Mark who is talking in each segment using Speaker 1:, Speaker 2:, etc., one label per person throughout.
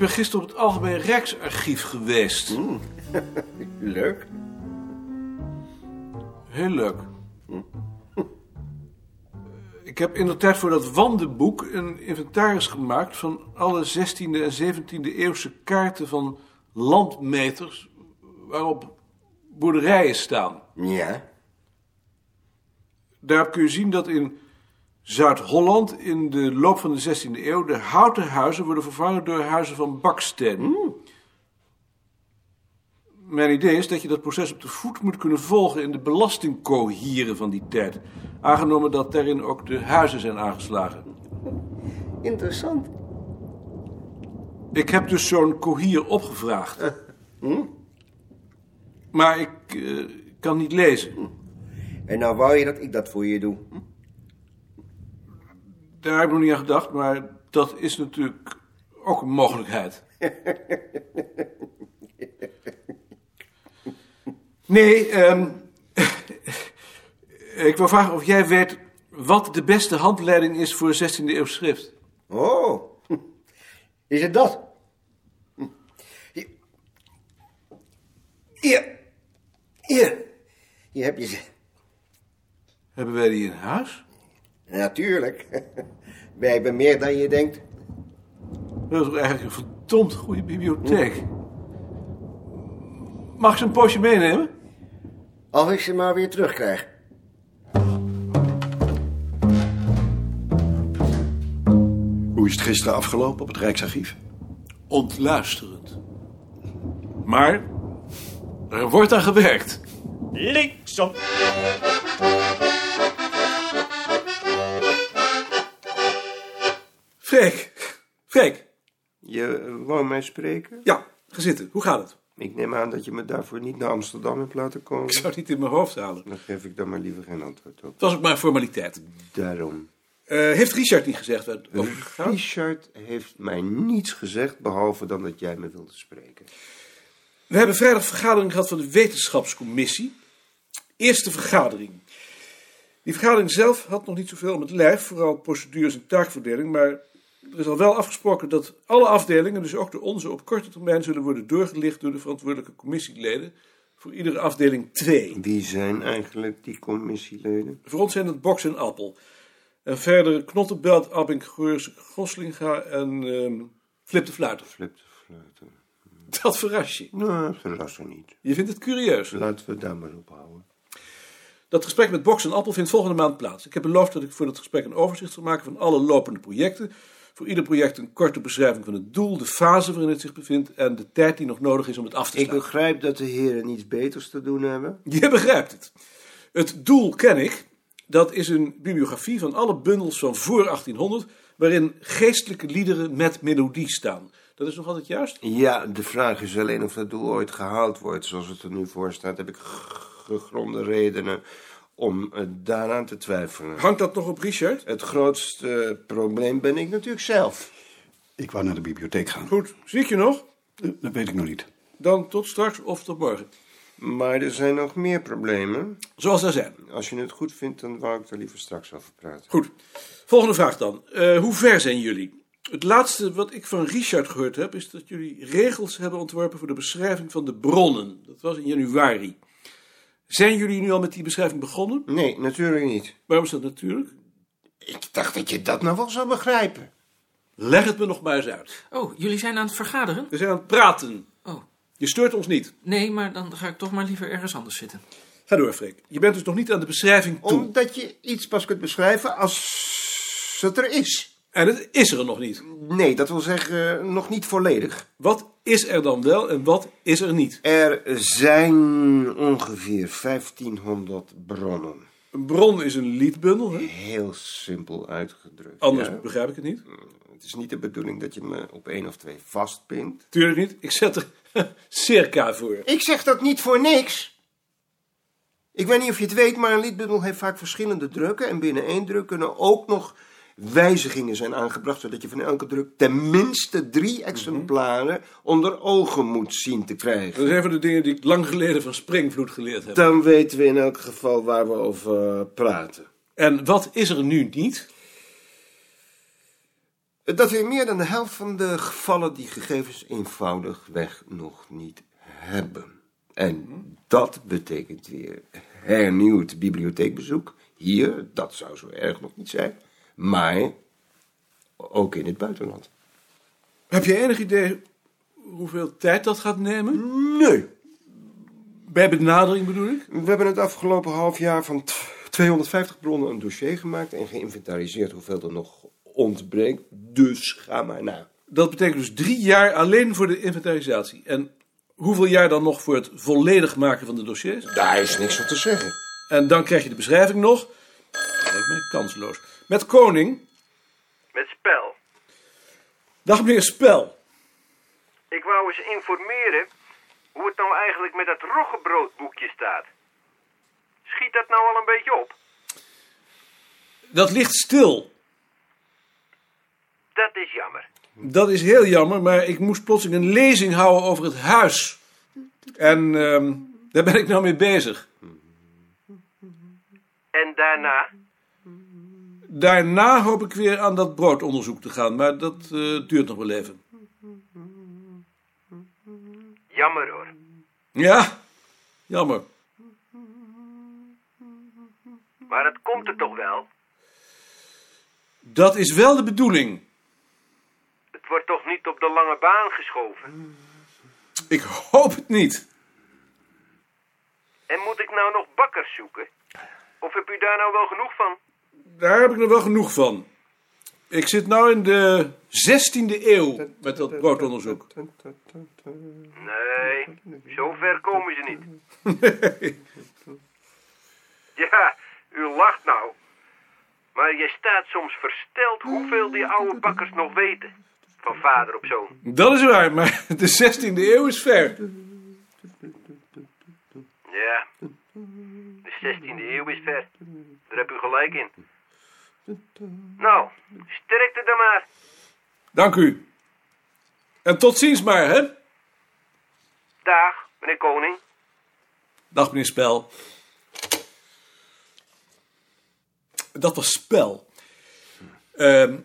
Speaker 1: gisteren op het Algemeen Rijksarchief geweest.
Speaker 2: Leuk.
Speaker 1: Heel leuk. Eh, Ik heb in de tijd voor dat wandenboek een inventaris gemaakt van alle 16e en 17e eeuwse kaarten van landmeters waarop boerderijen staan.
Speaker 2: Ja.
Speaker 1: Daar kun je zien dat in Zuid-Holland in de loop van de 16e eeuw de houten huizen worden vervangen door huizen van baksteen. Mijn idee is dat je dat proces op de voet moet kunnen volgen in de belastingcohieren van die tijd. Aangenomen dat daarin ook de huizen zijn aangeslagen.
Speaker 2: Interessant.
Speaker 1: Ik heb dus zo'n cohier opgevraagd. Hm? Maar ik eh, kan niet lezen.
Speaker 2: En nou wou je dat ik dat voor je doe. Hm?
Speaker 1: Daar heb ik nog niet aan gedacht, maar dat is natuurlijk ook een mogelijkheid. Nee, ehm, ik wil vragen of jij weet wat de beste handleiding is voor 16e eeuw schrift.
Speaker 2: Oh. Is het dat? Hier. Hier. Hier heb je ze.
Speaker 1: Hebben wij die in huis?
Speaker 2: Natuurlijk. Wij hebben meer dan je denkt.
Speaker 1: Dat is toch eigenlijk een verdomd goede bibliotheek. Mag ik ze een poosje meenemen?
Speaker 2: Als ik ze maar weer terugkrijg.
Speaker 3: Hoe is het gisteren afgelopen op het Rijksarchief?
Speaker 1: Ontluisterend. Maar er wordt aan gewerkt.
Speaker 4: Linksom.
Speaker 5: Freek, Freek,
Speaker 6: Je wou mij spreken?
Speaker 5: ja, ga zitten. Hoe gaat het?
Speaker 6: Ik neem aan dat je me daarvoor niet naar Amsterdam hebt laten
Speaker 5: Ik
Speaker 6: komen.
Speaker 5: zou het niet in mijn hoofd halen.
Speaker 6: Dan geef ik daar maar liever geen antwoord op.
Speaker 5: Het was ook maar een formaliteit.
Speaker 6: Daarom.
Speaker 5: Eh, heeft Richard niet gezegd waar het over gaat?
Speaker 6: Richard heeft mij niets gezegd, behalve dan dat jij me wilde spreken.
Speaker 5: We hebben vrijdag vergadering gehad van de wetenschapscommissie. Eerste vergadering. Die vergadering zelf had nog niet zoveel om het lijf, vooral procedures en taakverdeling, maar er is al wel afgesproken dat alle afdelingen, dus ook de onze, op korte termijn zullen worden doorgelicht door de verantwoordelijke commissieleden, voor iedere afdeling twee.
Speaker 6: Wie zijn eigenlijk die commissieleden?
Speaker 5: Voor ons zijn dat Boks en Appel. En verder Knottenbelt, Abink, Geurs, Goslinga en ehm Flip de Fluiter.
Speaker 6: Flip de fluiten.
Speaker 5: Dat verrast je.
Speaker 6: Nou, verrassen niet.
Speaker 5: Je vindt het curieus.
Speaker 6: Laten we daar maar op houden.
Speaker 5: Dat gesprek met Boks en Appel vindt volgende maand plaats. Ik heb beloofd dat ik voor dat gesprek een overzicht zal maken van alle lopende projecten. Voor ieder project een korte beschrijving van het doel, de fase waarin het zich bevindt en de tijd die nog nodig is om het af te
Speaker 6: Ik
Speaker 5: sluiten.
Speaker 6: begrijp dat de heren niets beters te doen hebben.
Speaker 5: Je begrijpt het. Het doel ken ik. Dat is een bibliografie van alle bundels van voor 1800, waarin geestelijke liederen met melodie staan. Dat is nog altijd juist?
Speaker 6: Ja, de vraag is alleen of dat doel ooit gehaald wordt. Zoals het er nu voor staat, heb ik g- gegronde redenen om eh, daaraan te twijfelen.
Speaker 5: Hangt dat nog op Richard?
Speaker 6: Het grootste eh, probleem ben ik natuurlijk zelf.
Speaker 3: Ik wou naar de bibliotheek gaan.
Speaker 5: Goed, zie ik je nog?
Speaker 3: Eh, Dat weet ik nog niet.
Speaker 5: Dan tot straks of tot morgen.
Speaker 6: Maar er zijn nog meer problemen.
Speaker 5: Zoals daar zijn.
Speaker 6: Als je het goed vindt, dan wou ik er liever straks over praten.
Speaker 5: Goed. Volgende vraag dan. Eh, hoe ver zijn jullie? Het laatste wat ik van Richard gehoord heb, is dat jullie regels hebben ontworpen voor de beschrijving van de bronnen. Dat was in januari. Zijn jullie nu al met die beschrijving begonnen?
Speaker 6: Nee, natuurlijk niet.
Speaker 5: Waarom is dat natuurlijk?
Speaker 6: Ik dacht dat je dat nou wel zou begrijpen.
Speaker 5: Leg het me nog maar eens uit.
Speaker 7: Oh, jullie zijn aan het vergaderen?
Speaker 5: We zijn aan het praten.
Speaker 7: Oh,
Speaker 5: Je steurt ons niet.
Speaker 7: nee, maar dan ga ik toch maar liever ergens anders zitten.
Speaker 5: Ga door, Freek. Je bent dus nog niet aan de beschrijving toe.
Speaker 6: Omdat je iets pas kunt beschrijven als het er is.
Speaker 5: En het is er nog niet.
Speaker 6: Nee, dat wil zeggen, eh, nog niet volledig.
Speaker 5: Wat is er dan wel en wat is er niet?
Speaker 6: Er zijn ongeveer 1500 bronnen.
Speaker 5: Een bron is een liedbundel, hè?
Speaker 6: Heel simpel uitgedrukt.
Speaker 5: Anders
Speaker 6: ja.
Speaker 5: begrijp ik het niet.
Speaker 6: Het is niet de bedoeling dat je me op één of twee vastpint.
Speaker 5: Tuurlijk niet. Ik zet er circa voor.
Speaker 6: Ik zeg dat niet voor niks. Ik weet niet of je het weet, maar een liedbundel heeft vaak verschillende drukken. En binnen één druk kunnen ook nog wijzigingen zijn aangebracht. Zodat je van elke druk tenminste drie exemplaren onder ogen moet zien te
Speaker 5: Dat
Speaker 6: krijgen.
Speaker 5: is een van de dingen die ik lang geleden van Springvloed geleerd heb.
Speaker 6: Dan weten we in elk geval waar we over praten.
Speaker 5: En wat is er nu niet?
Speaker 6: Dat in meer dan de helft van de gevallen die gegevens eenvoudigweg nog niet hebben. En dat betekent weer hernieuwd bibliotheekbezoek. Hier, dat zou zo erg nog niet zijn. Maar ook in het buitenland.
Speaker 5: Heb je enig idee hoeveel tijd dat gaat nemen?
Speaker 6: Nee.
Speaker 5: Bij benadering bedoel ik?
Speaker 6: We hebben het afgelopen half jaar van t- 250 bronnen een dossier gemaakt en geïnventariseerd hoeveel er nog ontbreekt. Dus ga maar na.
Speaker 5: Dat betekent dus drie jaar alleen voor de inventarisatie. En hoeveel jaar dan nog voor het volledig maken van de dossiers?
Speaker 6: Daar is niks op te zeggen.
Speaker 5: En dan krijg je de beschrijving nog. Dat lijkt mij kansloos. Met Koning.
Speaker 8: Met spel.
Speaker 5: Dag meneer Spel.
Speaker 8: Ik wou eens informeren hoe het nou eigenlijk met dat roggebroodboekje staat. Schiet dat nou al een beetje op?
Speaker 5: Dat ligt stil.
Speaker 8: Dat is jammer.
Speaker 5: Dat is heel jammer, maar ik moest plotseling een lezing houden over het huis. En ehm, daar ben ik nou mee bezig.
Speaker 8: En daarna?
Speaker 5: Daarna hoop ik weer aan dat broodonderzoek te gaan, maar dat eh, duurt nog wel even.
Speaker 8: Jammer hoor.
Speaker 5: Ja, jammer.
Speaker 8: Maar het komt er toch wel?
Speaker 5: Dat is wel de bedoeling.
Speaker 8: Het wordt toch niet op de lange baan geschoven?
Speaker 5: Ik hoop het niet.
Speaker 8: En moet ik nou nog bakkers zoeken? Of heb u daar nou wel genoeg van?
Speaker 5: Daar heb ik nog wel genoeg van. Ik zit nu in de 16e eeuw met dat broodonderzoek.
Speaker 8: Nee, zo ver komen ze niet. Ja, u lacht nou. Maar je staat soms versteld hoeveel die oude bakkers nog weten. Van vader op zoon.
Speaker 5: Dat is waar, maar de 16e eeuw is ver.
Speaker 8: Ja. De 16e eeuw is ver. Daar heb u gelijk in. Nou, sterkte dan maar.
Speaker 5: Dank u. En tot ziens maar, hè?
Speaker 8: Dag, meneer Koning.
Speaker 5: Dag, meneer Spel. Dat was Spel. Ehm,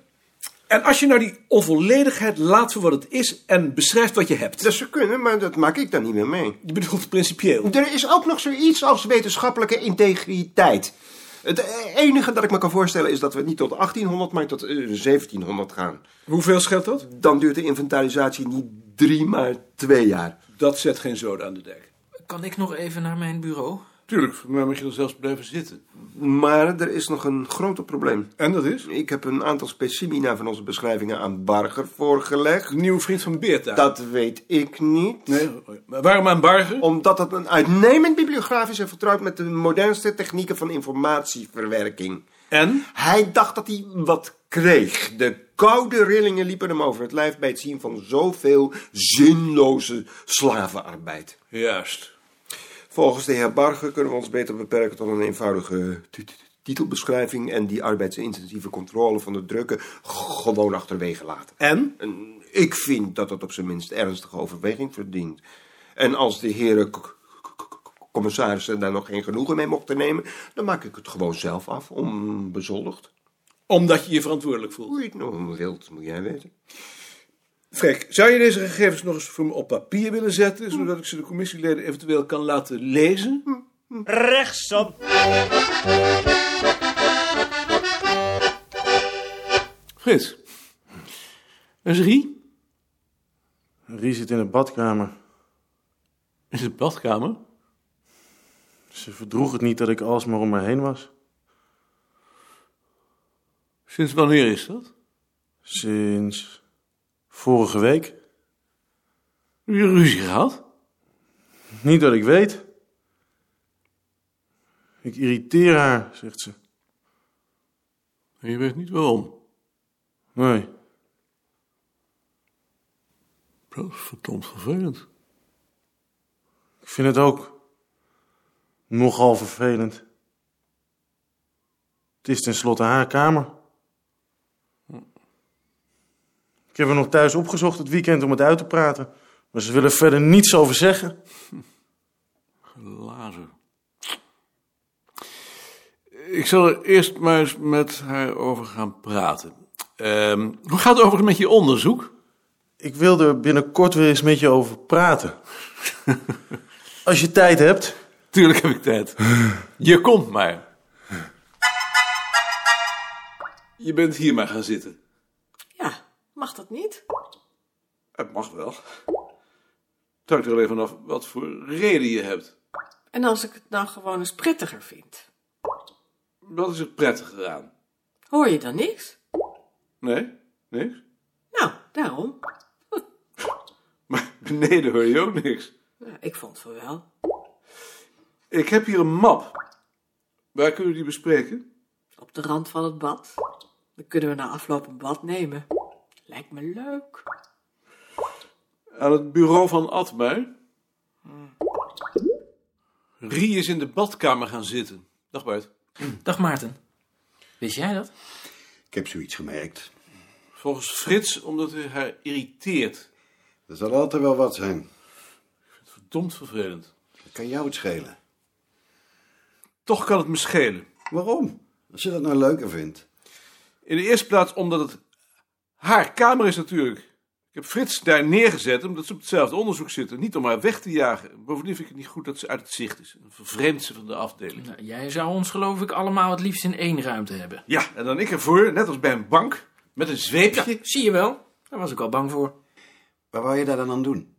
Speaker 5: en als je nou die onvolledigheid laat voor wat het is en beschrijft wat je hebt.
Speaker 6: Dat zou kunnen, maar dat maak ik dan niet meer mee.
Speaker 5: Je bedoelt principieel.
Speaker 6: Er is ook nog zoiets als wetenschappelijke integriteit. Het eh, enige dat ik me kan voorstellen is dat we niet tot 1800, maar tot eh, 1700 gaan.
Speaker 5: Hoeveel scheelt dat?
Speaker 6: Dan duurt de inventarisatie niet drie, maar twee jaar.
Speaker 5: Dat zet geen zoden aan de dijk.
Speaker 7: Kan ik nog even naar mijn bureau?
Speaker 5: Tuurlijk, voor mij mag je dan zelfs blijven zitten.
Speaker 6: Maar er is nog een groter probleem.
Speaker 5: En dat is?
Speaker 6: Ik heb een aantal specimina van onze beschrijvingen aan Barger voorgelegd.
Speaker 5: De nieuwe vriend van Beerta.
Speaker 6: Dat weet ik niet.
Speaker 5: Nee, maar waarom aan Barger?
Speaker 6: Omdat het een uitnemend bibliograaf is en vertrouwt met de modernste technieken van informatieverwerking.
Speaker 5: En?
Speaker 6: Hij dacht dat hij wat kreeg. De koude rillingen liepen hem over het lijf bij het zien van zoveel zinloze slavenarbeid.
Speaker 5: Juist.
Speaker 6: Volgens de heer Barger kunnen we ons beter beperken tot een eenvoudige ti- ti- titelbeschrijving en die arbeidsintensieve controle van de drukken gewoon achterwege laten.
Speaker 5: En?
Speaker 6: En ik vind dat dat op zijn minst ernstige overweging verdient. En als de heren k- k- k- commissarissen daar nog geen genoegen mee mochten nemen, dan maak ik het gewoon zelf af, onbezoldigd.
Speaker 5: Omdat je je verantwoordelijk voelt.
Speaker 6: Hoe je het nou wilt, moet jij weten.
Speaker 5: Freek, zou je deze gegevens nog eens voor me op papier willen zetten, zodat ik ze de commissieleden eventueel kan laten lezen?
Speaker 4: Rechtsop.
Speaker 5: Frits. Is Rie?
Speaker 9: Rie zit in de badkamer.
Speaker 5: Is het badkamer?
Speaker 9: Ze verdroeg het niet dat ik alsmaar om haar heen was.
Speaker 5: Sinds wanneer is dat?
Speaker 9: Sinds vorige week.
Speaker 5: Heb je ruzie gehad?
Speaker 9: Niet dat ik weet. Ik irriteer haar, zegt ze.
Speaker 5: En je weet niet waarom.
Speaker 9: Nee,
Speaker 5: Dat is verdomd vervelend.
Speaker 9: ik vind het ook nogal vervelend. Het is tenslotte haar kamer. Ik heb haar nog thuis opgezocht het weekend om het uit te praten. Maar ze willen verder niets over zeggen.
Speaker 5: Lazer. Ik zal er eerst maar eens met haar over gaan praten. Ehm, hoe gaat het overigens met je onderzoek?
Speaker 9: Ik wil er binnenkort weer eens met je over praten. Als je tijd hebt.
Speaker 5: Tuurlijk heb ik tijd. Je komt maar. Je bent hier maar gaan zitten.
Speaker 10: Ja, mag dat niet?
Speaker 5: Het mag wel. Het hangt er alleen vanaf wat voor reden je hebt.
Speaker 10: En als ik het nou gewoon eens prettiger vind?
Speaker 5: Wat is er prettiger aan?
Speaker 10: Hoor je dan niks?
Speaker 5: Nee? Niks?
Speaker 10: Nou, daarom.
Speaker 5: Maar beneden hoor je ook niks.
Speaker 10: Ja, ik vond van wel.
Speaker 5: Ik heb hier een map. Waar kunnen we die bespreken?
Speaker 10: Op de rand van het bad. Dan kunnen we na afloop een bad nemen. Lijkt me leuk.
Speaker 5: Aan het bureau van Atmei. Rie is in de badkamer gaan zitten. Dag Bart.
Speaker 7: Dag Maarten. Wist jij dat?
Speaker 3: Ik heb zoiets gemerkt.
Speaker 5: Volgens Frits omdat hij haar irriteert.
Speaker 3: Er zal altijd wel wat zijn.
Speaker 5: Verdomd vervelend.
Speaker 3: Dat kan jou het schelen.
Speaker 5: Toch kan het me schelen.
Speaker 3: Waarom? Als je dat nou leuker vindt.
Speaker 5: In de eerste plaats omdat het haar kamer is natuurlijk. Ik heb Frits daar neergezet omdat ze op hetzelfde onderzoek zitten. Niet om haar weg te jagen. Bovendien vind ik het niet goed dat ze uit het zicht is. Een vervreemd ze van de afdeling.
Speaker 7: Nou, jij zou ons geloof ik allemaal het liefst in één ruimte hebben.
Speaker 5: Ja, en dan ik ervoor, net als bij een bank, met een
Speaker 7: Ja,
Speaker 5: zweepje.
Speaker 7: zie je wel. Daar was ik al bang voor.
Speaker 3: Waar wou je daar dan aan doen?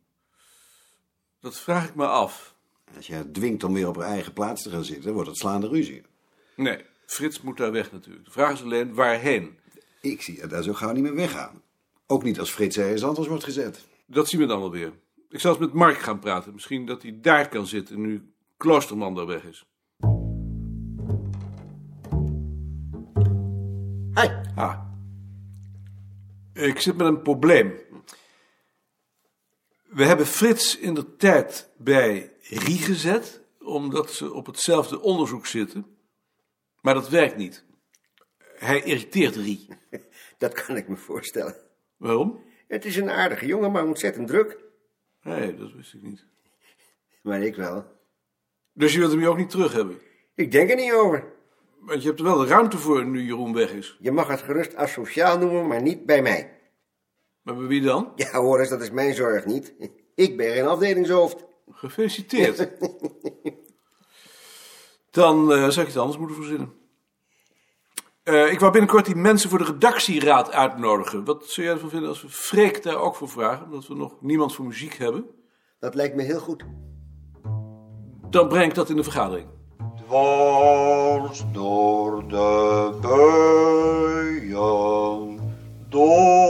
Speaker 5: Dat vraag ik me af.
Speaker 3: Als je haar dwingt om weer op haar eigen plaats te gaan zitten, wordt het slaande ruzie.
Speaker 5: Nee, Frits moet daar weg natuurlijk. De vraag is alleen waarheen.
Speaker 3: Ik zie haar daar zo gauw niet meer weggaan. Ook niet als Frits ergens anders wordt gezet.
Speaker 5: Dat zien we dan wel weer. Ik zal eens met Mark gaan praten. Misschien dat hij daar kan zitten nu Kloosterman daar weg is.
Speaker 3: Hoi.
Speaker 5: Ah. Ik zit met een probleem. We hebben Frits in de tijd bij Rie gezet, omdat ze op hetzelfde onderzoek zitten. Maar dat werkt niet. Hij irriteert Rie.
Speaker 3: Dat kan ik me voorstellen.
Speaker 5: Waarom?
Speaker 3: Het is een aardige jongen, maar ontzettend druk.
Speaker 5: Nee, dat wist ik niet.
Speaker 3: Maar ik wel.
Speaker 5: Dus je wilt hem hier ook niet terug hebben?
Speaker 3: Ik denk er niet over.
Speaker 5: Want je hebt er wel de ruimte voor nu Jeroen weg is.
Speaker 3: Je mag het gerust asociaal noemen, maar niet bij mij.
Speaker 5: Maar bij wie dan?
Speaker 3: Ja, hoor eens, dat is mijn zorg niet. Ik ben geen afdelingshoofd.
Speaker 5: Gefeliciteerd. Dan eh, zou ik iets anders moeten verzinnen. Eh, ik wou binnenkort die mensen voor de redactieraad uitnodigen. Wat zou jij ervan vinden als we Freek daar ook voor vragen? Omdat we nog niemand voor muziek hebben.
Speaker 3: Dat lijkt me heel goed.
Speaker 5: Dan breng ik dat in de vergadering.
Speaker 11: dwars door de buien, door